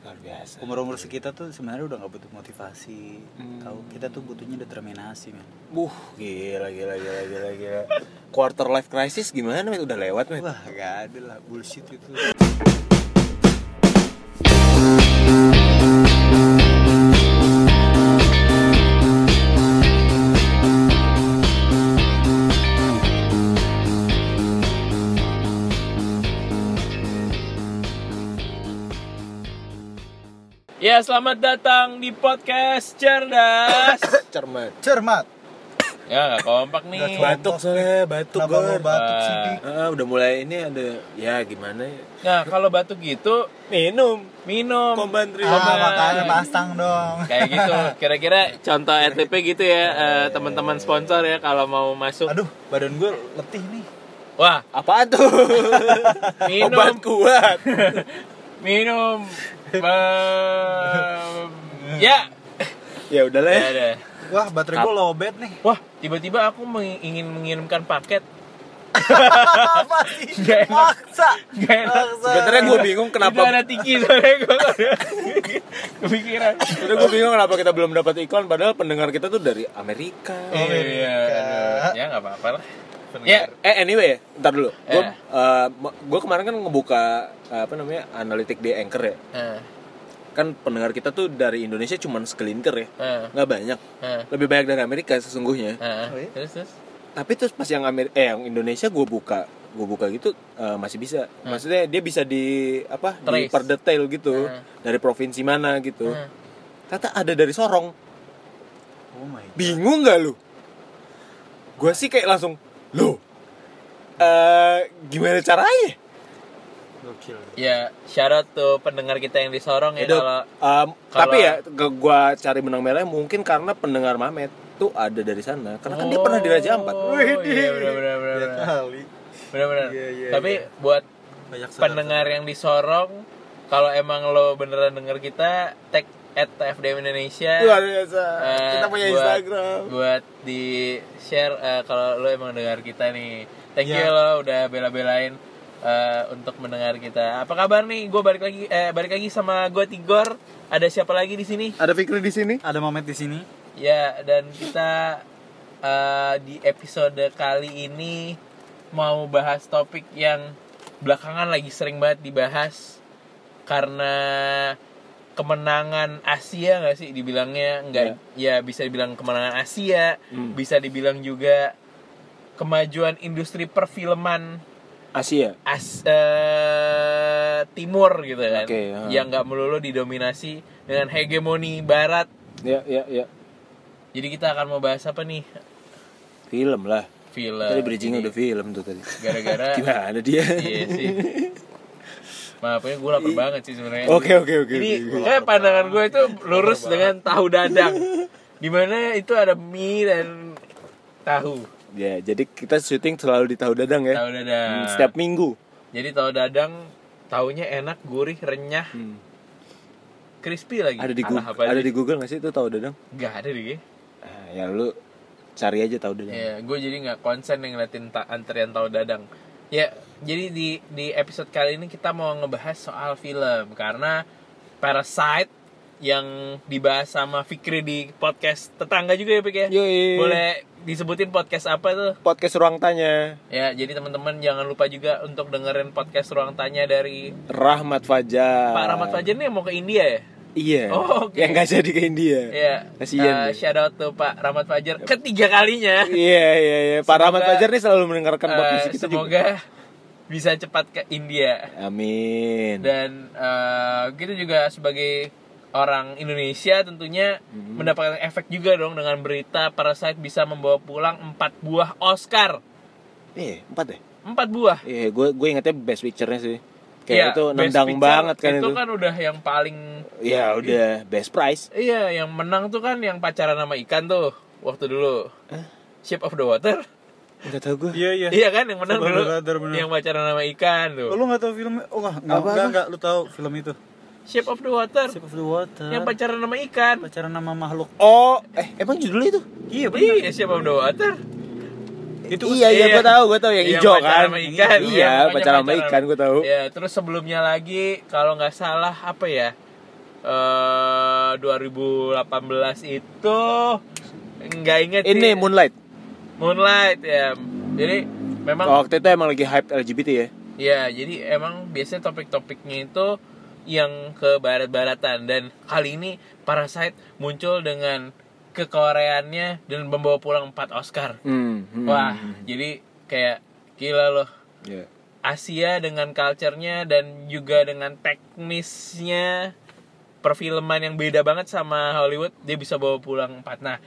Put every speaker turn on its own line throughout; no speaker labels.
luar biasa
umur-umur sekitar tuh sebenarnya udah nggak butuh motivasi
Hmm.
tahu kita tuh butuhnya determinasi men
buh gila gila gila gila gila quarter life crisis gimana Met? udah lewat Met?
wah nggak ada lah bullshit itu
Ya, selamat datang di podcast Cerdas.
cermat
cermat
ya, nggak kompak nih.
batuk soalnya batuk
kenapa lu
gor
batuk sih
Ah.
Dik?
Ah, udah mulai ini ada ya gimana ya
Nah, kalau batuk gitu,
minum
minum.
kombantri
ah makanya pasang dong
Kayak gitu. Kira-kira contoh RTP gitu ya, eh, teman-teman sponsor ya kalau mau masuk.
aduh badan gue letih nih
Wah,
apaan tuh
minum.
obat kuat
Minum. Ehm, ya.
ya udahlah
Ya
ya
udah.
wah baterai gue lowbat nih
Wah, tiba-tiba aku meng- ingin mengirimkan paket.
apa sih
Gak enak.
maksa
Gak enak.
Maksa.
sebenarnya gue bingung
Itu
kenapa
ada tiki soalnya gue kepikiran.
sebenarnya gue bingung kenapa kita belum dapat iklan padahal pendengar kita tuh dari Amerika
Oh, iya. aduh. Ya nggak apa-apa lah.
Ya,
Ya,
eh anyway, ntar dulu. Gue
Eh.
kemarin kan ngebuka eh, apa namanya analitik di Anchor ya.
Eh,
Kan pendengar kita tuh dari Indonesia cuman sekelintir ya,
eh,
nggak banyak.
eh,
Lebih banyak dari Amerika sesungguhnya.
eh.
Oh, iya?
Terus terus.
Tapi terus pas yang Amer eh yang Indonesia gue buka, gue buka gitu eh, masih bisa. Maksudnya dia bisa di apa? Di
Trace.
per detail gitu
Eh.
dari provinsi mana gitu.
Eh.
Kata ada dari Sorong.
oh my god
Bingung nggak lu? Gue sih kayak langsung, lo eh gimana caranya?
gokil
Ya, syarat tuh pendengar kita yang disorong ya
Itu,
kalau
um,
kalau-
tapi ya ke- gua cari benang merahnya mungkin karena pendengar Mamet tuh ada dari sana karena kan dia pernah di Raja Ampat
Oh,
Wih,
Iya, benar benar benar.
ya
benar.
kali
Benar benar.
Iya, iya,
Tapi
iya.
buat
banyak saudara.
pendengar yang disorong kalau emang lo beneran denger kita tag at TFDM Indonesia
luar biasa
Eh,
kita punya
buat-
Instagram
buat di share eh, kalau lo emang dengar kita nih thank you
Iya.
lo udah bela-belain eh, untuk mendengar kita apa kabar nih gue balik lagi eh, balik lagi sama gue Tigor ada siapa lagi di sini
ada Fikri di sini
ada Mamet di sini
ya dan kita eh, di episode kali ini mau bahas topik yang belakangan lagi sering banget dibahas karena kemenangan Asia nggak sih dibilangnya nggak ya bisa dibilang kemenangan Asia
Hmm.
bisa dibilang juga kemajuan industri perfilman
Asia
as eh, timur gitu kan
Oke, ya.
yang nggak melulu didominasi dengan hegemoni barat
ya ya ya
jadi kita akan mau bahas apa nih?
film lah
Film.
tadi bridging
Jadi
udah film tuh tadi
Gara-gara.
gimana dia
iya sih. Maaf ya gue lapar banget sih sebenarnya.
oke oke oke
Ini
oke.
kayak pandangan gue itu lurus dengan tahu dadang. Dimana itu ada mie dan tahu.
ya jadi kita syuting selalu di Tahu Dadang ya
Tahu dadang.
Hmm, setiap minggu
Jadi tahu dadang taunya enak, gurih, renyah,
Hmm.
crispy lagi.
ada di Google
Alah, apa
ada
sih?
di Google nggak sih itu Tahu Dadang
Nggak ada di.
Ah, ya lu cari aja Tahu Dadang
Ya, gue jadi nggak konsen yang ngeliatin ta- antrian tahu dadang. Ya, jadi di di episode kali ini kita mau ngebahas soal film karena Parasite yang dibahas sama Fikri di podcast tetangga juga ya Pik ya.
Yoi.
Boleh disebutin podcast apa tuh?
podcast ruang tanya
Ya, jadi teman-teman jangan lupa juga untuk dengerin podcast ruang tanya dari
Rahmat Fajar.
Pak Rahmat Fajar nih yang mau ke India ya.
Iya.
Oh, oke.
Yang nggak jadi ke India.
Ya,
Kasian
eh,
dia.
shout out tuh Pak Rahmat Fajar ketiga kalinya.
Iya iya iya. Pak
Semoga,
Rahmat Fajar nih selalu mendengarkan podcast
Eh,
kita juga.
semoga bisa cepat ke India.
Amin.
dan eh, kita juga sebagai orang Indonesia tentunya mendapatkan efek juga dong dengan berita Parasite bisa membawa pulang 4 buah Oscar.
Iya empat deh.
4 buah.
Iya gue gue ingetnya best picture-nya sih. Kayak
Iya,
itu
Best
nendang
Picture
banget kan itu.
Itu kan Iya. udah yang paling
Ya udah best prize.
iya yang menang tuh kan yang pacaran sama ikan tuh waktu dulu. Shape of the Water.
Enggak tahu gue.
iya iya
Iya kan yang menang
Shape of
dulu.
the Water, bener.
Yang pacaran sama ikan tuh.
Oh, lu gak tau filmnya? Oh nggak, nggak,
Apa?
nggak, nggak, lu tau film itu
Shape of the Water.
Shape of the Water
Yang pacaran sama ikan.
pacaran sama makhluk
Oh eh emang judulnya itu?
Iya benar. Iya, Shape of the Water.
itu
iya iya gue tahu gue tahu yang
Iya,
hijau
pacaran
kan.
sama
Iya
ikan. Iya,
pacaran sama
pacaran. Iya,
ikan gue tahu.
Ya, terus sebelumnya lagi kalau nggak salah apa ya? eh 2018 itu nggak inget
Ini
sih.
Moonlight.
Moonlight ya. Jadi memang
Oh, waktu itu emang lagi hype LGBT ya.
Ya, jadi emang biasanya topik-topiknya itu yang ke barat-baratan dan kali ini Parasite muncul dengan kekoreannya dan membawa pulang 4 Oscar.
Hmm. hmm.
Wah, jadi kayak gila loh.
Iya.
Asia dengan culture-nya dan juga dengan teknisnya perfilman yang beda banget sama Hollywood, dia bisa bawa pulang 4. Nah,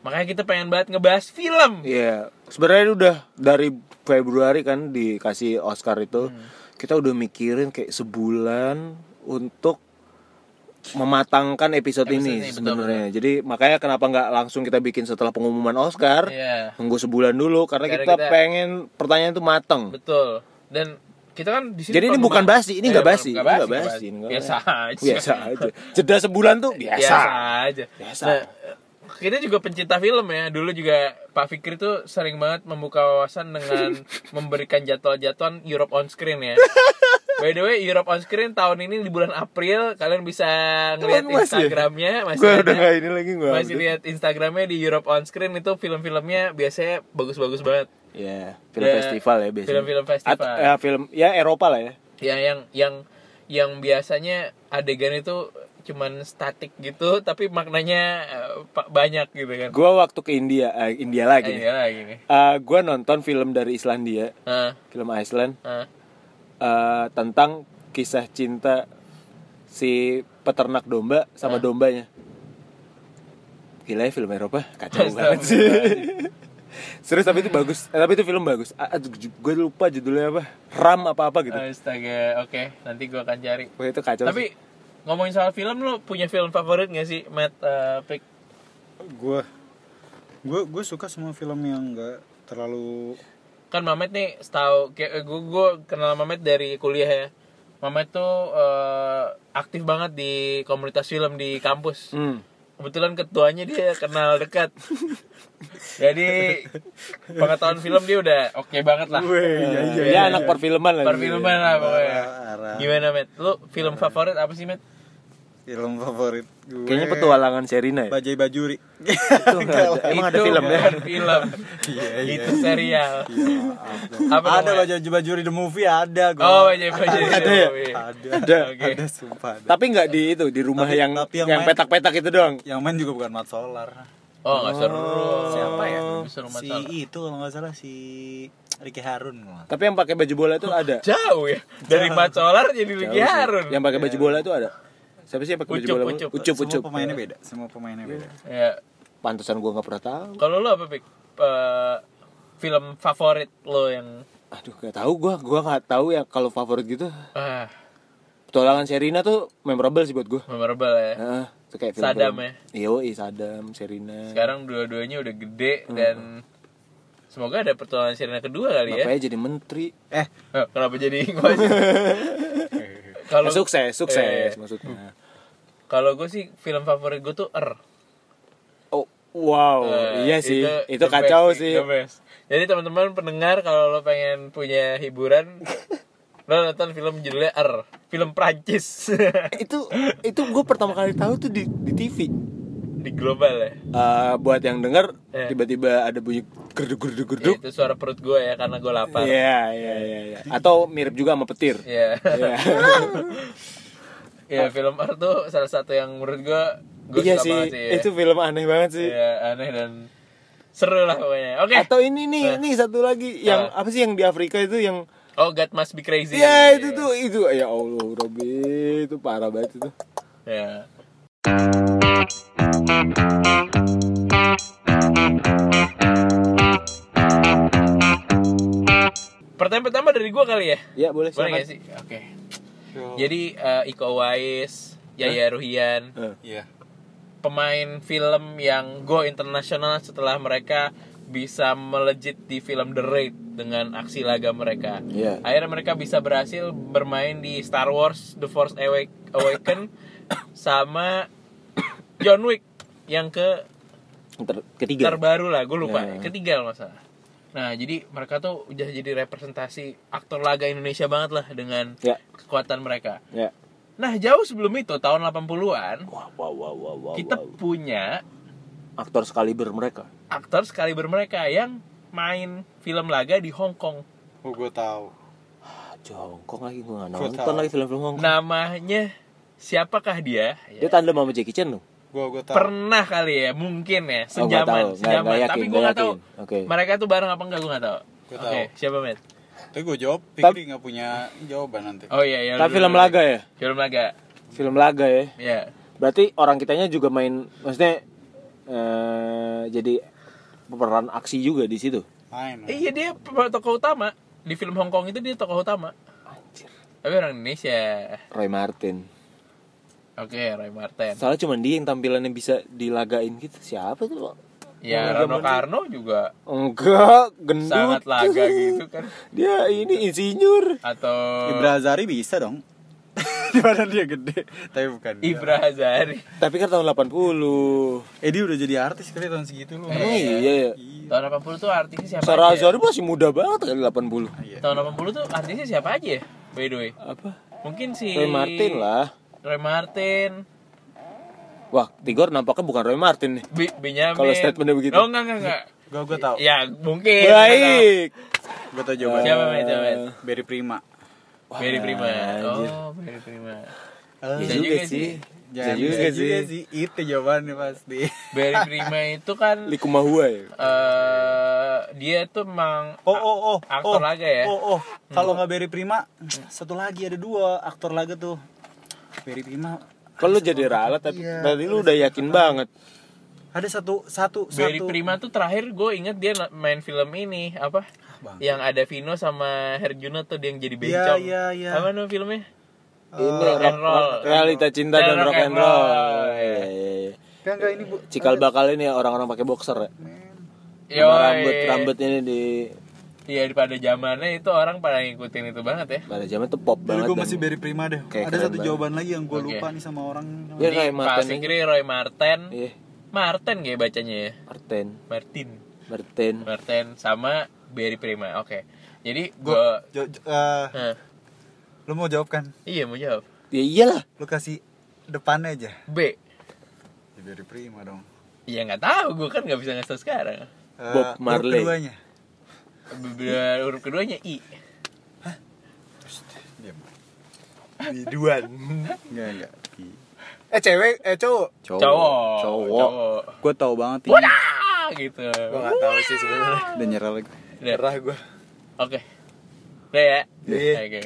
makanya kita pengen banget ngebahas film.
Iya, sebenarnya udah dari Februari kan dikasih Oscar itu,
Hmm.
kita udah mikirin kayak sebulan untuk mematangkan episode,
Episode ini,
ini,
betul,
sebenarnya. Jadi makanya kenapa nggak langsung kita bikin setelah pengumuman Oscar?
Iya.
Tunggu sebulan dulu karena,
Karena
kita,
kita-
pengen pertanyaan itu mateng.
Betul. Dan kita kan di sini
Jadi ini
penggemar-
bukan basi, ini
Eh,
nggak
bukan-
basi,
nggak
ini
basi,
nggak
nggak
basi,
basi.
ini nggak
Biasa aja.
Biasa aja. Jeda sebulan tuh biasa.
Biasa aja.
Biasa.
Nah, kita juga pencinta film ya. Dulu juga Pak Fikri tuh sering banget membuka wawasan dengan memberikan jadwal-jadwal Europe on Screen ya. By the way, Europe on Screen tahun ini di bulan April kalian bisa ngeliat
Tahun masih ya?
Instagramnya masih
Gue
ada.
udah nggak ini lagi gue.
masih lihat Instagramnya di Europe on Screen itu film-filmnya biasanya bagus-bagus banget.
Ya, film
Ya,
festival ya biasanya.
film-film festival.
Atau, ya, film ya Eropa lah ya.
ya yang yang yang biasanya adegan itu cuman statik gitu tapi maknanya eh, pa- banyak gitu kan
Gua waktu ke India, eh, India lagi. nih.
Iya lah gini
Eh, gua nonton film dari Islandia,
Ah,
film Iceland
ah.
eh, tentang kisah cinta si peternak domba sama dombanya. Gila ya film Eropa,
Iya,
kacau banget sih. Serius tapi itu bagus, Eh, tapi itu film bagus. Gue lupa judulnya apa, Ram apa apa gitu.
astaga oke nanti gua akan cari
Wah itu kacau.
Eh, tapi ngomongin soal film lu punya film favorit gak sih Matt eh, Pick?
Gue gue gue suka semua film yang nggak terlalu
kan Mamet nih setahu kayak gue gue kenal Mamet dari kuliah ya Mamet tuh eh, aktif banget di komunitas film di kampus
Hmm.
kebetulan ketuanya dia kenal dekat jadi pengetahuan film dia udah oke banget lah Iya,
iya
Ya, anak perfilman lah. dia.
perfilman lah pokoknya
Arah.
gimana Matt? lu film favorit apa sih Matt?
film favorit gue
Kayaknya petualangan Serina ya.
Bajai Bajuri
Itu nggak ada. Emang ada
Itu
film ya? Iya,
bukan film itu serial apa
ada
namanya?
Bajai Bajuri the movie ada gue
oh wajib wajib
Ada ya?
ada
Ada.
Oke.
ada sumpah ada.
Tapi nggak di itu di rumah
Tapi-
yang
tapi yang
yang
main-
petak-petak itu doang.
yang main juga bukan Mat Solar
oh nggak seru
Siapa ya?
seru
si
masalah
itu kalau nggak salah si Ricky Harun kalau nggak
Tapi yang pakai baju bola itu ada.
jauh ya dari Mat Solar jadi Ricky Iya, Harun
Yang pakai baju bola itu ada. Siapa sih yang pakai baju
Ucup,
bola?
Ucup.
ucup.
semua
ucup.
pemainnya beda semua pemainnya beda
ya
Pantesan gua nggak pernah tahu.
kalau lu apa Pik? Eh, film favorit lo yang
Aduh, gak tahu gua. Gua nggak tahu ya kalau favorit gitu.
ah,
Petualangan Serina tuh memorable sih buat gua.
memorable ya
Heeh. itu kayak film.
Sadam ya?
Iya, i Sadam, Serina.
sekarang dua-duanya udah gede
Hmm.
dan semoga ada pertolongan Sirena kedua kali ya.
Bapaknya jadi menteri.
eh
Eh, Kenapa jadi gua sih? Kalau
Ya, sukses, sukses
Eh.
maksudnya.
kalau gue sih film favorit gue tuh Er.
Oh, wow.
Eh,
iya sih. Itu,
the
kacau
best
sih.
the best. Jadi teman-teman pendengar kalau lo pengen punya hiburan lo nonton film judulnya Er, film Prancis
itu itu gue pertama kali tahu tuh di di TV.
di global ya.
Eh, buat yang denger
Eh.
tiba-tiba ada bunyi gerduk gerduk
Ya,
gerduk.
Itu suara perut gue ya karena gue lapar.
Iya,
Iya.
iya, iya, iya. Atau mirip juga sama petir.
Eh.
Iya.
Ya, film Er tuh salah satu yang menurut gue gue
Iya
suka
sih,
banget sih. ya.
itu film aneh banget sih.
Iya, aneh dan seru lah pokoknya. Oke. Eh.
Atau ini nih, nih satu lagi yang
Apa?
apa sih yang di Afrika itu yang
Oh, God must be crazy.
Iya, itu tuh itu ya Allah, Robi, itu parah banget itu.
Ya. Pertanyaan pertama dari gua kali ya.
Ya, boleh
Boleh
silakan.
gak sih? Oke. Jadi eh, Iko Uwais, Yaya Ruhian,
Eh,
iya
pemain film yang go internasional setelah mereka bisa melejit di film The Raid dengan aksi laga mereka.
Iya.
Akhirnya mereka bisa berhasil bermain di Star Wars The Force Awak- Awaken sama John Wick yang ke
Ter- ketiga.
terbaru lah, gue lupa.
Ya.
Ketiga kalau nggak salah. Nah, jadi mereka tuh udah jadi representasi aktor laga Indonesia banget lah dengan
Ya.
kekuatan mereka.
ya.
Nah, jauh sebelum itu tahun 80-an
Wah, wow, wow, wow, wow.
kita
wow.
punya
aktor sekaliber mereka.
aktor sekaliber mereka yang main film laga di Hong Kong.
Oh, gue tahu.
Ah, jongkong lagi gua nggak
Gua
nonton
tahu.
lagi film-film Hongkong.
Nah, Namanya siapakah dia? Ya,
Dia tandem sama Jackie Chan loh.
Gue gue tahu.
Pernah kali ya, mungkin ya,
Oh, nggak tahu.
sejaman,
Nggak-
sejaman.
nggak
Tapi
yakin,
gue
nggak
nggak tahu.
yakin. Oke.
Mereka tuh bareng apa enggak gue nggak tahu.
Gua
Oke,
tahu.
siapa met?
Tapi gue jawab, Fikri nggak punya jawaban nanti.
Oh iya, ya.
Tapi film laga ya?
Film laga.
Film laga ya.
Ya.
Berarti orang kitanya juga main maksudnya eh jadi peran aksi juga di situ.
Main.
Eh, Iya dia pe- tokoh utama di film Hong Kong itu dia tokoh utama.
Anjir.
Tapi orang Indonesia.
Roy Martin.
Oke, Roy Martin.
Soalnya cuma dia yang tampilannya bisa dilagain gitu. Siapa tuh?
Ya Rano Karno juga
Enggak, gendut.
sangat laga gitu kan.
Dia ini insinyur.
Atau
Ibra Azari bisa dong. Di mana dia gede, tapi bukan. dia.
Ibra Hazari.
Tapi kan tahun 80.
Eh dia udah jadi artis kali tahun segitu lu.
Emang iya ya.
Iya.
Tahun 80 tuh artisnya siapa
Sarah
aja? ya?
Azhar masih muda banget kan 80.
Iya.
Tahun 80 tuh artisnya siapa aja ya? By the way.
Apa?
Mungkin si
Roy Martin lah.
Roy Martin.
Wah, Tigor nampaknya bukan Roy Martin nih.
Bi Benyamin.
Kalau statementnya begitu. Oh.
Oh enggak enggak enggak.
Gue gue tahu.
Ya mungkin.
Iya, Baik. Oh,
Gue tahu jawaban.
Siapa Met? Siapa Met?
Berry Prima.
Beri Prima.
anjir.
Oh, Beri Prima.
Eh,
Iya
Bisa
juga
juga
sih.
sih.
Bisa
Jangan
juga
bisa
sih.
sih. Itu jawabannya pasti.
Beri Prima itu kan
Likumahua ya.
eh dia tuh memang
Oh oh oh. oh,
Aktor laga ya?
Oh oh. Kalau nggak Berry Prima, satu lagi ada dua aktor laga tuh. Berry Prima.
Kalau lu jadi ralat tapi
Iya.
berarti lu udah yakin banget.
Ada satu satu
Barry
satu.
Prima tuh terakhir gue inget dia na- main film ini apa?
Ah,
Bang.
Yang ada Vino sama Herjuna tuh dia yang jadi
Iya,
bencong.
iya, iya.
Apa nama filmnya?
Eh,
Ini
rock and roll.
realita cinta dan rock and roll. Iya, iya, iya.
Enggak enggak ini bu.
Cikal bakal ini orang-orang pakai boxer ya.
Yo,
Sama rambut rambut ini di
Iya pada zamannya itu orang pada ngikutin itu banget ya.
pada zaman tuh pop
Dulu
banget.
gue
dan-
masih Berry Prima deh.
Kayak
ada
keren
satu
banget.
jawaban lagi yang gue
Oke.
lupa nih sama orang.
Iya,
Di
Roy Martin.
Pasir Kiri Roy Martin.
Iya,
Martin kayak bacanya ya.
Martin.
Martin.
Martin.
Martin sama Barry Prima. Oke. Jadi gue
Jo- jo- eh, lu mau jawab kan?
iya mau jawab.
Ya iyalah.
Lu kasih depannya aja.
B.
Ya, Berry Prima dong.
Ya nggak tahu gue kan nggak bisa ngasih tau
Eh,
sekarang.
Bob
huruf
Marley.
Keduanya.
Beberapa huruf keduanya I.
Diam. Iya, Biduan. Enggak enggak. Eh cewek, eh cowok.
Cowok.
Cowok.
Cowok.
Gue tahu banget ini.
Wadah! gitu.
Gue gak tahu sih sebenarnya. Dan nyerah lagi.
Udah.
Nyerah gue.
Oke. Udah ya.
Iya.
Oke.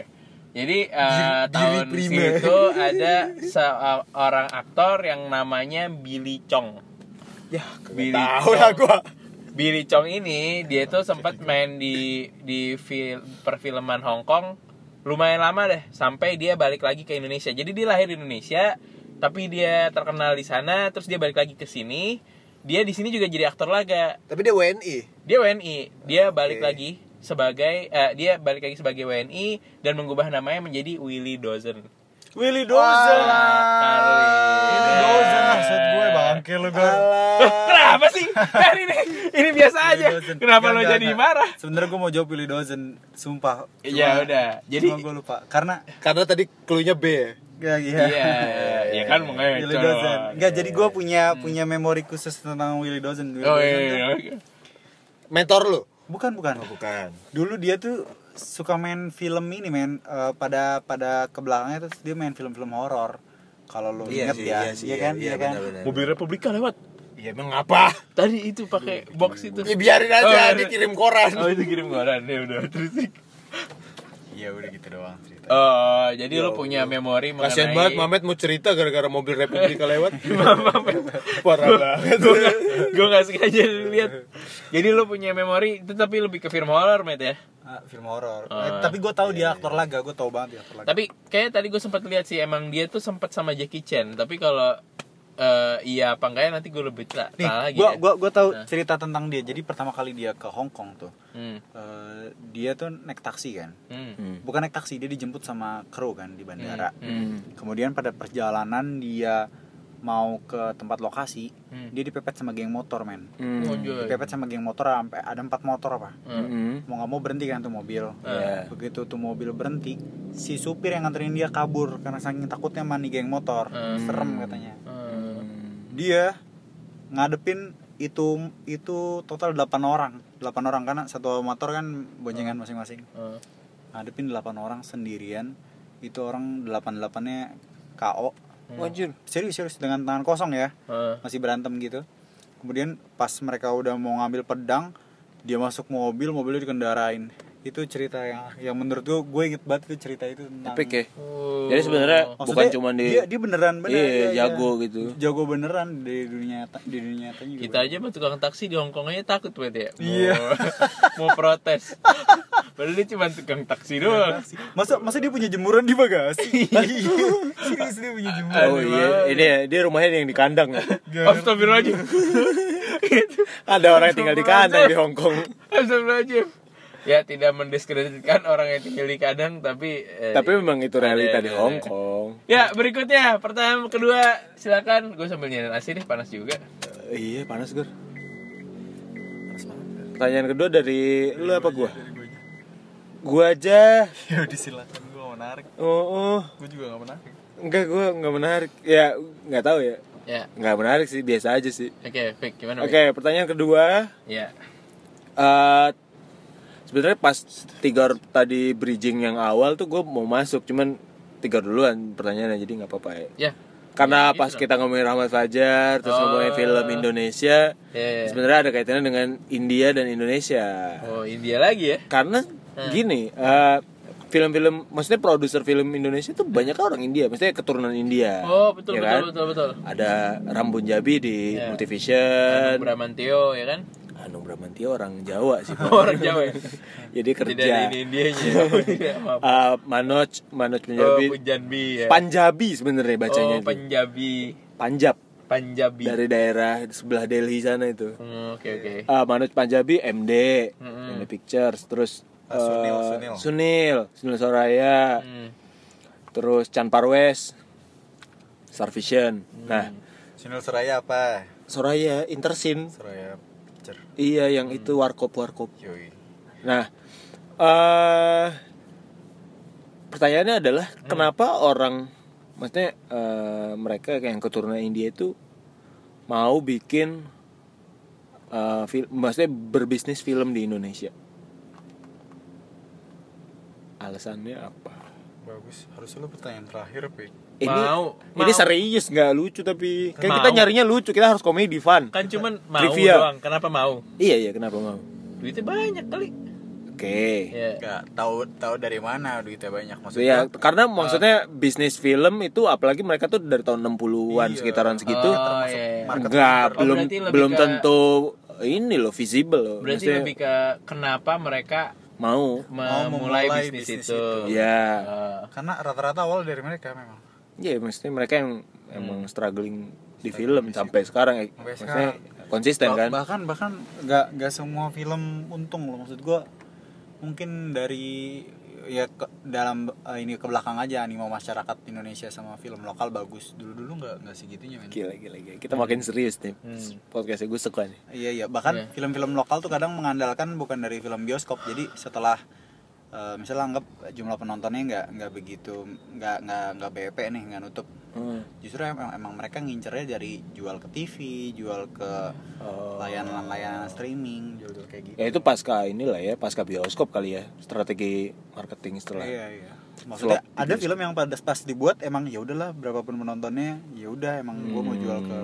Jadi eh,
Billy
tahun
Prima.
itu ada seorang aktor yang namanya Billy Chong.
Ya,
Billy
tahu lah gue.
Billy Chong ini dia tuh sempat main di di film perfilman Hong Kong lumayan lama deh sampai dia balik lagi ke Indonesia. Jadi dia lahir di Indonesia tapi dia terkenal di sana terus dia balik lagi ke sini. Dia di sini juga jadi aktor laga.
Tapi dia WNI.
Dia WNI, dia balik lagi sebagai eh, dia balik lagi sebagai WNI dan mengubah namanya menjadi Willy Dozen.
Willy Dozer.
Kali.
Willy Dozer maksud gue bangke lu gue.
Kenapa sih? Kan ini ini biasa aja. Iya, Kenapa lo jadi marah?
Sebenernya gue mau jawab Willy Dozen, sumpah.
Ya udah.
Jadi
Jadi
cuma gue lupa karena
Karena tadi cluenya B.
ya iya.
iya, iya, iya kan mengaco.
Willy Dozen. Enggak, jadi gue punya punya memori khusus tentang Willy Dozen. Willy
Hmm. Oh iya,
Dozen
iya,
tuh-
iya.
Mentor lu?
Bukan, bukan.
Oh, Bukan.
Dulu dia tuh suka main film ini men Eh, pada pada kebelakangnya terus dia main film-film horor. Kalau lu
Iya
inget
sih,
ya,
iya sih,
iya kan,
iya,
iya kan.
benar-benar.
Mobil Republika lewat.
Ya emang apa?
Tadi itu pakai box itu.
Ya biarin
Oh, iya,
aja
iya.
dikirim koran.
Oh itu kirim koran ya udah terus.
Iya udah gitu doang cerita.
Oh, jadi lu punya memori mengenai
Kasian banget Mamet mau cerita gara-gara mobil Republika lewat. Parah banget.
gue gak sengaja lihat jadi lu punya memori itu tapi lebih ke film horor met ya
Ah, film horor.
Oh.
Eh, tapi gue
Iya,
tahu dia aktor laga, gue tahu banget dia aktor laga.
tapi kayak tadi gue sempat lihat sih emang dia tuh sempat sama Jackie Chan tapi kalau eh, iya apa enggak ya, nanti gue lebih salah
Nih,
lagi
gue
ya.
gua gua tahu cerita tentang dia. Jadi pertama kali dia ke Hong Kong tuh,
Hmm,
eh, dia tuh naik taksi kan.
hmm,
Bukan naik taksi, dia dijemput sama kru kan di bandara.
hmm.
Kemudian pada perjalanan dia mau ke tempat lokasi
Hmm.
dia dipepet sama geng motor men
Hmm.
Ujung.
dipepet sama geng motor sampai ada empat motor apa
Hmm. Iya.
mau nggak mau berhenti kan tuh mobil
Ya.
begitu tuh mobil berhenti si supir yang nganterin dia kabur karena saking takutnya mani geng motor
Hmm.
serem katanya
Hmm.
dia ngadepin itu itu total 8 orang 8 orang karena satu motor kan boncengan masing-masing
Uh,
Hmm.
ngadepin 8 orang sendirian itu orang 88 nya KO
Anjir.
serius serius dengan tangan kosong ya
uh.
Hmm.
masih berantem gitu kemudian pas mereka udah mau ngambil pedang dia masuk mobil mobilnya dikendarain itu cerita yang yang menurut gue gue inget banget itu cerita itu tentang
Epic ya. Jadi sebenarnya bukan
Maksudnya,
cuma di
dia, dia beneran bener
Iya,
dia- dia
jago gitu.
jago beneran di dunia nyata di dunia nyatanya juga
kita aja sama tukang taksi di Hongkong aja takut berarti ya Mau-
Iya.
mau protes padahal dia cuma tukang taksi doang
Taksi. Masa masa dia punya jemuran di bagasi? Iya. Serius dia punya jemuran.
Oh iya, ini ya, dia rumahnya yang di kandang ya.
Astagfirullahaladzim
Ada orang yang tinggal di kandang di Hong Kong.
Astagfirullahaladzim Ya tidak mendiskreditkan orang yang tinggal di kadang Tapi eh,
Tapi memang itu realita di Hong Kong.
Ya berikutnya pertanyaan kedua silakan gue sambil nyalain AC nih panas juga
Eh, iya, panas, Gur. Pertanyaan kedua dari lu apa gua? Gua aja.
Ya udah silakan gua mau narik.
Oh, oh.
Gua juga gak menarik.
Enggak, gua enggak menarik. Ya, enggak tahu ya.
ya
Enggak menarik sih, biasa aja sih.
oke Fik gimana
Oke,
Fik?
pertanyaan kedua.
ya
Eh Sebenarnya pas tiga tadi bridging yang awal tuh gue mau masuk, cuman tiga duluan pertanyaannya jadi nggak apa-apa ya.
ya
Karena
Ya,
pas
gitu Oh.
kita ngomongin Rahmat Fajar, terus ngomongin film Indonesia,
Ya, ya.
sebenarnya ada kaitannya dengan India dan Indonesia.
oh India lagi ya
Karena gini, eh, film-film, maksudnya produser film Indonesia tuh banyak orang India, maksudnya keturunan India.
oh
ya
betul betul,
kan?
betul betul
Ada Ram Punjabi di
Ya.
Multivision,
Bramantio ya kan
Hanung Bramantio orang Jawa sih. Pak.
orang Jawa ya
jadi kerja. Iya.
tidak ada ini Indianya Oh, tidak maaf
Uh, Manoj Manoj
oh
Punjabi
Punjabi ya
Panjabi sebenarnya bacanya
oh
itu.
Punjabi
Panjab
Punjabi
dari daerah sebelah Delhi sana itu
Hmm, oke oke
Uh, Manoj Panjabi MD MD Pictures terus
Ah, Sunil,
uh,
Sunil.
Sunil Sunil Soraya
Hmm.
terus Chan Parwes Star Vision nah
Sinul Seraya apa?
Soraya Intersin
Seraya Picture. Hmm.
iya yang itu warkop warkop
Yoi.
Nah, eh pertanyaannya adalah
Hmm.
kenapa orang, maksudnya eh, mereka yang keturunan India itu mau bikin, eh, fil- maksudnya berbisnis film di Indonesia? Alasannya apa?
Bagus. Harusnya lu pertanyaan terakhir, Pik.
Ini
Mau,
ini
mau.
serius nggak lucu tapi kan kita
Mau.
nyarinya lucu kita harus komedi fun.
kan cuman mau
Trivia.
doang kenapa mau
Iya iya kenapa mau?
duitnya banyak kali
Oke.
ya
Enggak tahu tahu dari mana duitnya banyak
Iya,
Eh.
karena maksudnya bisnis film itu apalagi mereka tuh dari tahun 60-an sekitaran segitu.
oh iya iya.
enggak,
Oh,
belum
berarti lebih
belum
ke-
tentu ini loh visible loh.
berarti
Maksudnya Oh,
lebih ke kenapa mereka
mau.
memulai,
memulai
bisnis,
bisnis
itu,
Ya.
Eh,
Karena rata-rata awal dari mereka memang.
Iya, maksudnya mereka yang emang
Hmm.
struggling di film
Iya.
sampai sekarang eh,
Sampai
maksudnya konsisten
Bah-
kan?
bahkan bahkan nggak nggak semua film untung loh maksud gua mungkin dari ya ke- dalam eh, ini ke belakang aja animo masyarakat Indonesia sama film lokal bagus dulu dulu nggak nggak segitunya men
Gila, gila, gila. Kita makin serius nih.
Hmm.
Podcastnya gue suka nih.
iya iya bahkan film-film lokal tuh kadang mengandalkan bukan dari film bioskop jadi setelah eh, misalnya anggap jumlah penontonnya nggak nggak begitu nggak nggak nggak BP nih nggak nutup
Hmm.
justru emang, emang mereka ngincernya dari jual ke TV jual ke layanan-layanan streaming jual-jual kayak gitu
Ya itu pasca inilah ya, pasca bioskop kali ya, strategi marketing setelah.
Iya iya. gitu. Maksudnya
Flop
ada film yang pada pas dibuat emang ya udahlah berapapun penontonnya ya udah emang gua mau jual ke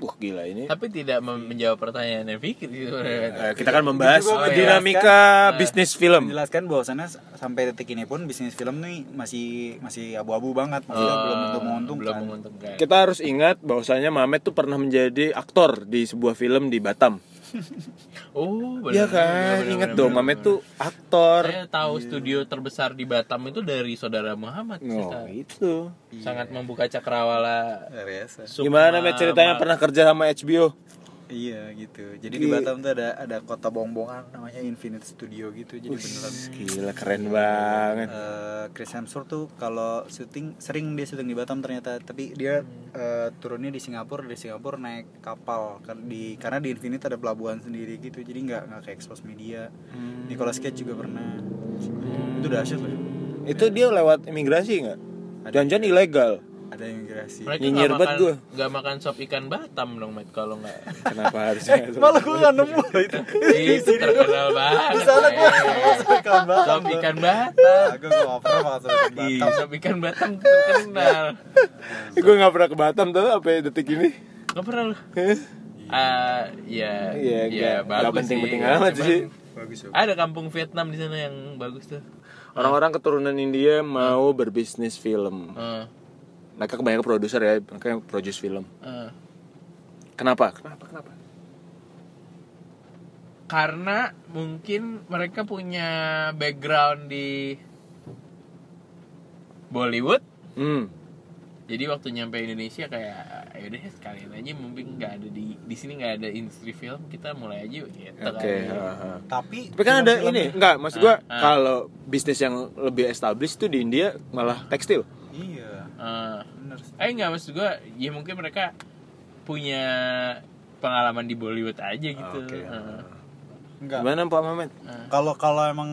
Hmm, Wah, gila ini.
tapi tidak mem- menjawab pertanyaan yang pikir gitu
Eh, kita kan membahas Nah.
juga menjelaskan.
dinamika bisnis film.
menjelaskan bahwasannya s- sampai detik ini pun bisnis film nih masih masih abu-abu banget maksudnya Eh, belum tentu menguntungkan.
belum menguntungkan
Kita harus ingat bahwasanya Mamet tuh pernah menjadi aktor di sebuah film di Batam.
oh benar
Iya kan? Iya.
benar,
Ingat
benar,
dong,
benar,
Mamet
benar. Iya,
tuh aktor.
saya tahu studio terbesar di Batam itu dari saudara Muhammad
Oh,
Sista.
itu.
sangat membuka cakrawala
Luar Iya, biasa.
Sukma,
Gimana Mamet ceritanya
Ma-
pernah kerja sama HBO?
Iya gitu.
Di-
Jadi di Batam tuh ada ada kota bongbongan namanya Infinite Studio gitu. Jadi beneran
Gila keren banget.
Eh, Chris Hemsworth tuh kalau syuting sering dia syuting di Batam ternyata, tapi dia eh, turunnya di Singapura, dari Singapura naik kapal kan di karena di Infinite ada pelabuhan sendiri gitu. Jadi nggak nggak kayak expose media.
Hmm.
Nicolas Cage juga pernah. Itu dahsyat loh.
Itu dia lewat imigrasi nggak?
Ada.
Jangan-jangan ilegal.
Ada imigrasi.
Mereka
Nyinyir
nggak
banget
makan,
gua.
nggak makan sop ikan Batam dong, Mat, kalau nggak.
Kenapa harusnya?
Malah gue nggak nemu loh itu.
Itu terkenal banget.
Di sana gue
Met.
ikan Batam.
Sop ikan Batam.
Gue nggak pernah makan sama ikan
Ih,
Iya.
Batam.
Sop ikan Batam terkenal. Eh,
gue nggak pernah ke Batam tuh sampai detik ini.
Nggak pernah lu. Ah, ya,
Iya,
ya,
nggak-
bagus
nggak penting-penting
sih.
amat
Cuman
sih.
Bagus ya.
Ada kampung Vietnam di sana yang bagus tuh.
Orang-orang keturunan India mau berbisnis film.
Heeh.
Mereka kebanyakan produser ya, mereka yang produce film.
heeh.
Kenapa? Kenapa? Kenapa?
karena mungkin mereka punya background di Bollywood
Hmm.
jadi waktu nyampe Indonesia kayak yaudah ya sekalian aja mungkin nggak ada di di sini nggak ada industri film kita mulai aja gitu
Oke.
kan.
haha.
Tapi
Tapi kan ada ini, enggak, maksud gue
Ah, ah.
kalau bisnis yang lebih established tuh di India malah tekstil.
Iya,
Eh,
bener sih.
eh nggak maksud gue ya mungkin mereka punya pengalaman di Bollywood aja gitu
Oke.
Eh,
Enggak.
Gimana Pak Mamet?
Kalau kalau emang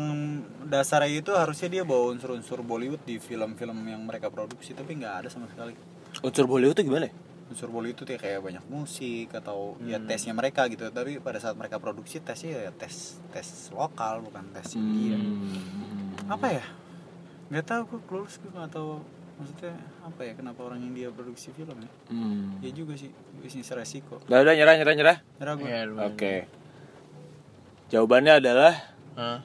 dasarnya itu harusnya dia bawa unsur-unsur Bollywood di film-film yang mereka produksi tapi nggak ada sama sekali.
Unsur Bollywood tuh gimana? ya?
Unsur Bollywood itu kayak- kayak banyak musik atau ya tesnya mereka gitu. Tapi pada saat mereka produksi tesnya ya tes tes lokal bukan tes India.
Hmm,
Apa ya? Nggak tahu gue lulus gue nggak tahu maksudnya apa ya kenapa orang India produksi film ya?
Hmm. Ya
Ya juga sih bisnis resiko.
Udah, udah, nyerah, nyerah, nyerah.
Nyerah gue.
ya,
Oke.
lumayan.
Jawabannya adalah
Eh,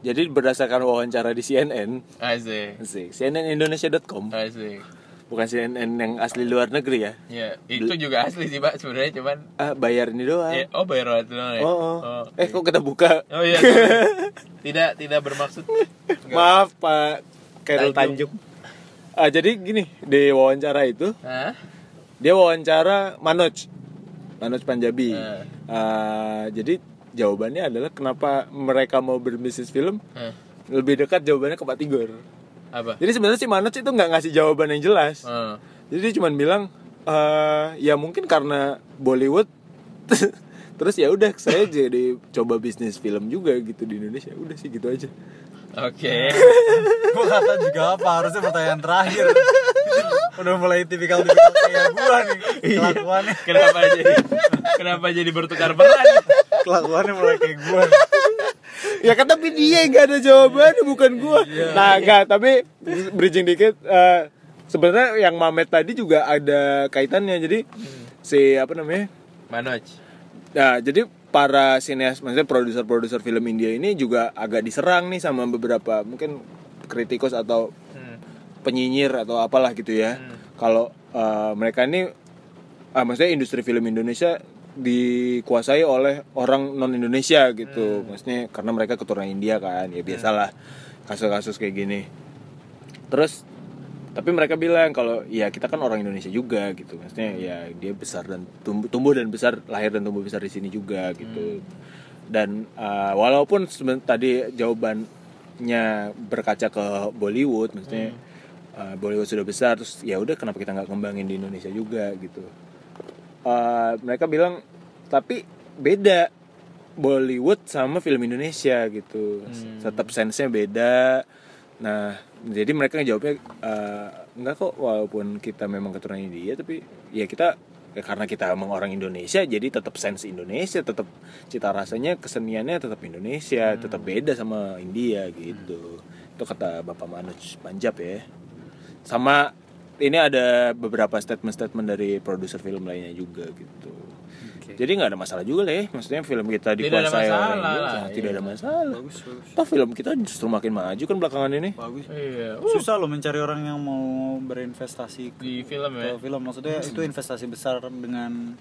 jadi berdasarkan wawancara di CNN,
asik
sih, cnnindonesia.com,
asik
bukan CNN yang asli luar negeri ya.
ya itu juga asli sih pak sebenarnya cuman
Ah, bayar ini doang.
Ya, oh bayar royalti doang ya?
Oh, oh. Eh, kok kita buka?
Oh iya. sorry. tidak tidak bermaksud.
Maaf Pak Khairul Tanjung.
Tanjung.
Ah, jadi gini, di wawancara itu
Hah?
dia wawancara Manoj, Manoj Panjabi.
Eh.
Ah, jadi jawabannya adalah kenapa mereka mau berbisnis film?
Hah?
Lebih dekat jawabannya ke Pak Tigor.
Eh, Apa?
Jadi sebenarnya si Manoj itu nggak ngasih jawaban yang jelas.
Eh,
Jadi dia cuma bilang "Eh, ya mungkin karena Bollywood terus ya udah saya jadi coba bisnis film juga gitu di Indonesia. Udah sih gitu aja.
Oke.
gue kata juga apa harusnya pertanyaan terakhir udah mulai tipikal tipikal kayak gua nih kelakuannya
Kenapa jadi kenapa jadi bertukar peran?
kelakuannya mulai kayak gua nih.
ya kan tapi dia yang gak ada jawaban bukan gua.
Iya,
Nah, enggak, tapi bridging dikit eh, sebenarnya yang Mamet tadi juga ada kaitannya. Jadi si apa namanya?
Manoj.
Nah, jadi para sineas, maksudnya produser-produser film India ini juga agak diserang nih sama beberapa mungkin kritikus atau
Hmm.
penyinyir atau apalah gitu ya. Kalau eh, mereka ini, ah, maksudnya industri film Indonesia dikuasai oleh orang non Indonesia gitu, maksudnya karena mereka keturunan India kan, ya biasalah kasus-kasus kayak gini. Terus tapi mereka bilang kalau ya kita kan orang Indonesia juga gitu, maksudnya ya dia besar dan tumbuh, tumbuh dan besar lahir dan tumbuh besar di sini juga gitu. Dan eh, walaupun seben- tadi jawabannya berkaca ke Bollywood, maksudnya eh, Bollywood sudah besar, terus ya udah kenapa kita nggak kembangin di Indonesia juga gitu. Eh, mereka bilang tapi beda Bollywood sama film Indonesia gitu tetap sensenya beda nah jadi mereka ngejawabnya eh, enggak kok walaupun kita memang keturunan India tapi ya kita ya karena kita emang orang Indonesia jadi tetap sense Indonesia tetap cita rasanya keseniannya tetap Indonesia tetap beda sama India gitu itu kata Bapak Manoj Panjab ya sama ini ada beberapa statement-statement dari produser film lainnya juga gitu. Jadi nggak ada masalah juga lah ya, maksudnya film kita
Tidak ada
dikuasai
masalah
orang Indonesia,
lah, iya.
tidak ada masalah.
bagus bagus
Toh film kita justru makin maju kan belakangan ini.
bagus
Iya.
susah loh mencari orang yang mau berinvestasi ke-
Di film
ke
ya.
film maksudnya itu investasi besar dengan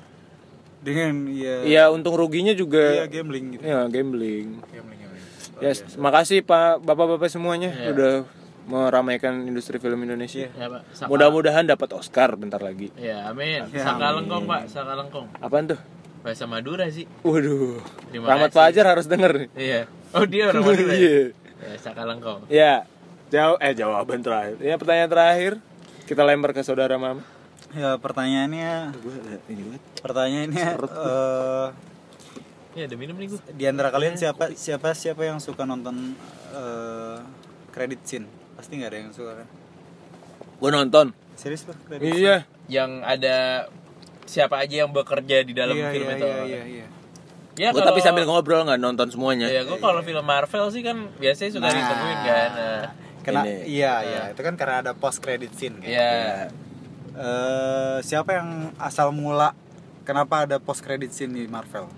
dengan ya
Iya untung ruginya
ya,
juga,
gambling gitu
ya gambling.
Iya. Gambling, gambling. Iya.
Ya, makasih Pak Bapak-bapak semuanya udah meramaikan industri film Indonesia.
Ya, Pak. Saka-
Mudah-mudahan dapat Oscar bentar lagi.
Ya, amin. Saka lengkong, Pak. Saka lengkong.
Apaan tuh?
bahasa Madura sih.
Waduh.
Terima
Rahmat
kasih.
Fajar harus denger nih.
Iya. Oh dia orang Madura.
Iya.
ya? Ya, Sakalengkong.
Ya. Jauh eh jawaban terakhir. Ya pertanyaan terakhir kita lempar ke saudara Mama.
Ya pertanyaannya
Gue ini banget.
pertanyaannya eh,
Ya ada minum nih gue.
di antara kalian siapa siapa siapa yang suka nonton eh, credit scene? Pasti nggak ada yang suka. kan?
Gue nonton.
Serius loh credit.
Iya.
Yang ada siapa aja yang bekerja di dalam
Iya,
film
iya,
itu.
iya, iya, iya.
Ya,
Gua tapi sambil ngobrol nggak nonton semuanya.
Ya gue kalau film Marvel sih kan biasanya suka ditemuin kan. Nah,
Ah.
Ah.
Kena,
Ini.
iya, iya. Itu kan karena ada post credit scene kan.
ya.
Eh, siapa yang asal mula kenapa ada post credit scene di Marvel?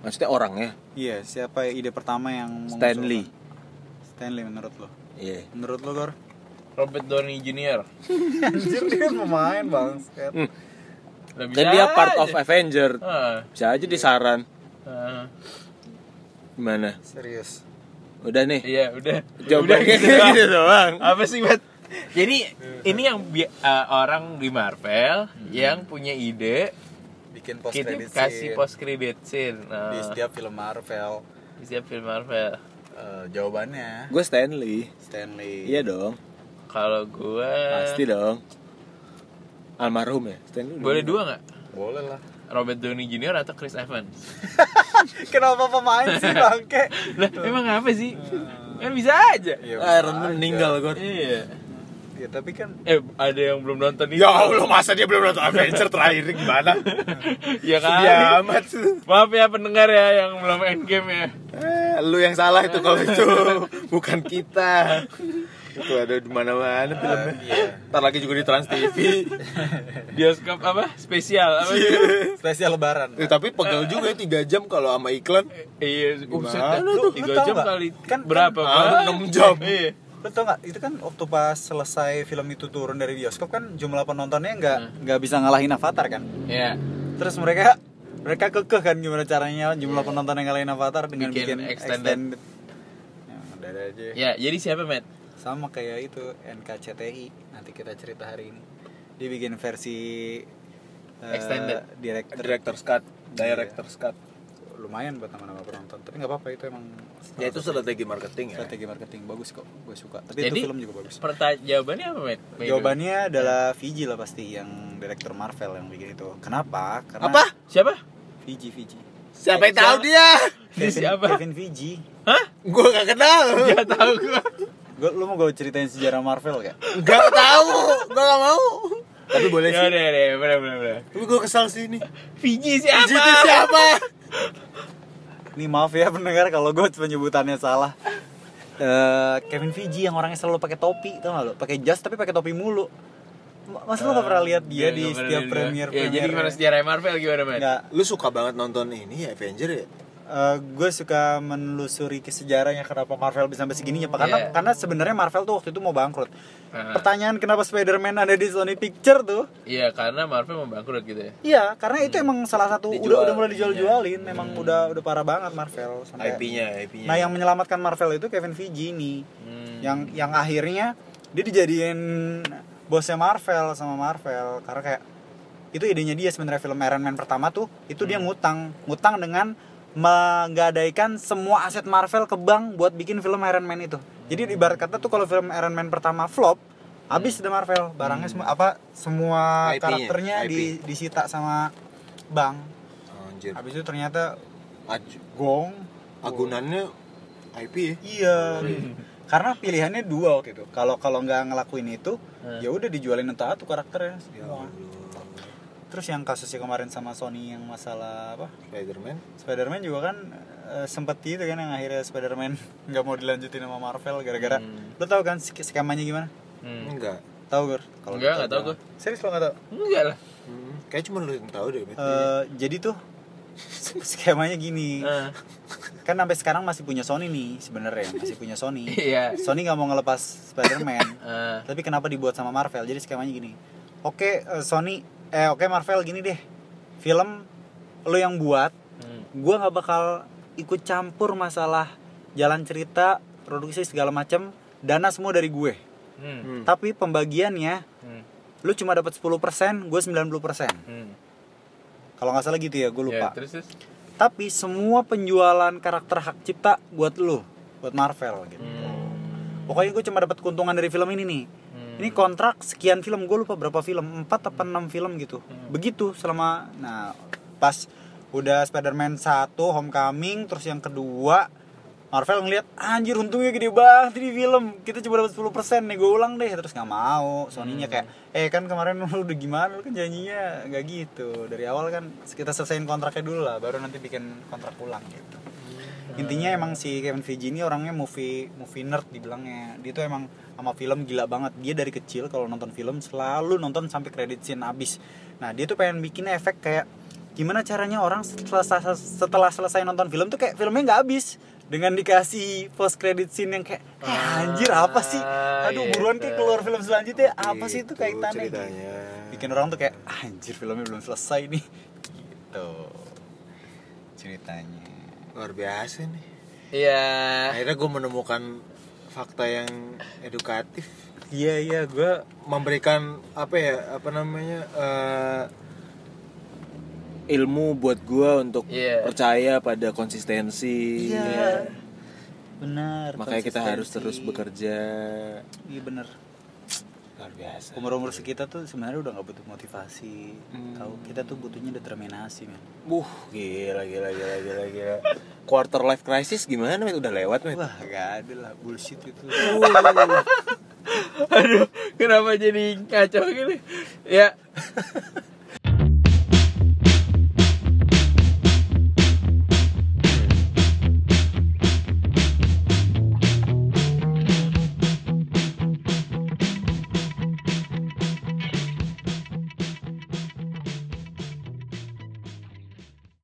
Maksudnya ya? orangnya
Iya, siapa ide pertama yang mengusulkan?
Stanley.
Stanley menurut lo?
Iya.
Menurut lo, Gor?
Robert Downey Jr.
Anjir, dia kan pemain, Bang.
Lebih
Kan dia part of Avenger.
Ah,
Bisa aja disaran.
ah.
Gimana?
Serius.
Udah nih.
Iya udah. udah
Jawabannya
gitu
gitu,
doang.
doang.
Apa sih Matt? Jadi ini yang bi- eh, orang di Marvel yang punya ide
Bikin post
kita
credit
kasih
scene
post credit scene nah,
di setiap film Marvel.
di setiap film Marvel.
Eh, jawabannya
Gue Stanley.
Stanley.
Iya dong.
Kalau gue
Pasti dong. Almarhum ya. Stanley. udah
boleh dua nggak?
Boleh lah.
Robert Downey Jr. atau Chris Evans?
Kenapa pemain sih, bangke?
Lah, emang apa sih? Kan bisa aja.
Iya,
Iron Man meninggal gue.
Iya.
Ya, tapi kan
Eh, ada yang belum nonton itu.
Ya Allah masa dia belum nonton Avenger terakhir gimana?
ya kan?
Sedih amat
Maaf ya pendengar ya yang belum end game ya.
Eh, lu yang salah itu kalau itu bukan kita. Itu ada di mana-mana filmnya. Ntar lagi juga di Trans TV.
Bioskop apa? Spesial apa sih?
spesial lebaran.
Eh, tapi pegel juga ya 3 jam kalau sama iklan.
Iya, buset
Gimana
lu,
tuh? Lu
tiga
tau
jam
nggak?
kali
Kan-
berapa
kan-
Pak?
Ah, enam jam.
Iya.
Lo tau gak, itu kan waktu pas selesai film itu turun dari bioskop kan jumlah penontonnya nggak
Hmm.
nggak bisa ngalahin Avatar kan?
Iya.
Terus mereka mereka kekeh kan gimana caranya jumlah penonton yang ngalahin Avatar dengan
Iya. Bikin
bikin,
extended.
extended. Ya, udah ada aja.
Ya, jadi siapa, Matt?
Sama kayak itu NKCTI nanti kita cerita hari ini. Dia bikin versi eh,
Extended.
director.
Scott,
Director
Scott.
Iya. Lumayan buat nama-nama penonton, tapi nggak apa-apa itu emang
Ya itu strategi marketing ya.
strategi marketing bagus kok, gue suka. Tapi
Jadi-
itu film juga bagus.
Pertanyaan jawabannya apa, Matt? By the way.
Jawabannya adalah Fiji lah pasti yang direktur Marvel yang bikin itu. Kenapa? Karena
Apa?
siapa?
Fiji Fiji.
Siapa yang tahu dia?
Dia
Kevin,
siapa?
Kevin Fiji.
Hah?
Gua gak kenal.
Gak tahu gua.
Gua, lu mau gue ceritain sejarah Marvel gak?
Gak tahu. Gua gak mau. Tapi boleh
Ya
sih.
udah, udah, bener, bener, bener.
Tapi gua kesal sih ini.
Fiji siapa?
Jadi siapa?
Nih maaf ya pendengar kalau gue penyebutannya salah. Eh, Kevin Fiji yang orangnya selalu pakai topi, tau gak lo? Pakai jas tapi pakai topi mulu. Ma- Mas lu gak pernah lihat dia
Gak
di
Eh, iya, pernah
setiap
lihat.
premier
Ya, jadi gimana sejarah Marvel gimana, Matt?
Enggak.
Lu suka banget nonton ini ya Avenger ya?
gue Eh, suka menelusuri ke sejarahnya kenapa Marvel bisa sampai segininya. Pak. Karena
Iya.
karena sebenarnya Marvel tuh waktu itu mau bangkrut.
Ah.
Pertanyaan kenapa Spider-Man ada di Sony Picture tuh?
Iya, karena Marvel mau bangkrut gitu ya.
Iya, karena itu emang salah satu udah
Dijual,
udah mulai dijual-jualin, memang udah udah parah banget Marvel sampai.
IP-nya, IP-nya.
Nah, yang menyelamatkan Marvel itu Kevin Feige nih.
Hmm.
Yang yang akhirnya dia dijadiin bosnya Marvel sama Marvel karena kayak itu idenya dia sebenarnya film Iron Man pertama tuh itu dia ngutang, ngutang dengan menggadaikan semua aset Marvel ke bank buat bikin film Iron Man itu. Jadi ibarat kata tuh kalau film Iron Man pertama flop, habis deh Marvel, barangnya semua apa semua
IP-nya,
karakternya
IP. Iya.
di disita sama bank.
Anjir.
Habis itu ternyata
Aj-
gong.
Agunannya IP ya?
Iya. Karena pilihannya dua waktu itu. Kalau kalau nggak ngelakuin itu,
Hmm.
ya udah dijualin entah tuh karakternya. semua. Terus yang kasusnya kemarin sama Sony yang masalah apa?
Spider-Man.
Spider-Man juga kan eh, sempet gitu kan yang akhirnya Spider-Man nggak mau dilanjutin sama Marvel gara-gara lo tau kan sk- skemanya gimana?
Hmm.
Enggak.
Tahu Gor? Kalau
Enggak,
lo
enggak tahu
bilang. Serius lo nggak tahu?
Enggak lah.
Hmm, kayak cuma lu yang tahu deh. Bet.
Eh, jadi tuh skemanya gini.
Ah,
kan sampai sekarang masih punya Sony nih sebenarnya masih punya Sony
Iya.
Sony nggak mau ngelepas Spider-Man
Ah,
tapi kenapa dibuat sama Marvel jadi skemanya gini oke eh, Sony eh oke Marvel gini deh film lo yang buat
hmm.
gua nggak bakal ikut campur masalah jalan cerita produksi segala macam dana semua dari gue
Hmm.
Hmm.
tapi pembagiannya
Hmm.
lu cuma dapat 10% gue 90%
Hmm.
Kalau nggak salah gitu ya, gue lupa.
Ya, terus terus.
Tapi semua penjualan karakter hak cipta buat lu, buat Marvel gitu.
Hmm.
Pokoknya gue cuma dapat keuntungan dari film ini nih. Ini kontrak sekian film, gue lupa berapa film, 4 apa 6 film gitu. Begitu selama nah pas udah Spider-Man 1 Homecoming terus yang kedua Marvel ngeliat anjir untungnya gede banget di film kita cuma dapat 10% nih gue ulang deh terus nggak mau Sony-nya kayak eh kan kemarin lu udah gimana lu kan janjinya nggak gitu dari awal kan kita selesaiin kontraknya dulu lah baru nanti bikin kontrak ulang gitu intinya emang si Kevin Feige ini orangnya movie movie nerd dibilangnya dia tuh emang sama film gila banget dia dari kecil kalau nonton film selalu nonton sampai kredit scene abis nah dia tuh pengen bikin efek kayak gimana caranya orang setelah setelah selesai nonton film tuh kayak filmnya nggak habis dengan dikasih post credit scene yang kayak "Eh, anjir apa sih aduh
iya,
buruan kayak keluar film selanjutnya apa sih itu
Gitu
kaitannya gitu.
ceritanya.
bikin orang tuh kayak "Ah, anjir filmnya belum selesai nih gitu ceritanya
Luar biasa nih.
Iya.
Akhirnya gue menemukan fakta yang edukatif,
Iya iya gue
memberikan apa ya, apa namanya? eh,
ilmu buat gua untuk
Iya.
percaya pada konsistensi
Iya. benar.
Iya. makanya kita harus terus bekerja
Iya benar.
luar biasa iya.
Umur umur sekitar tuh sebenarnya udah nggak butuh motivasi.
Hmm.
Tahu kita tuh butuhnya determinasi men.
Wuh, gila, gila, gila, gila, gila. Quarter life crisis gimana, Met? Udah lewat, Met?
Wah gak ada lah bullshit itu.
Aduh, kenapa jadi kacau gini? Ya.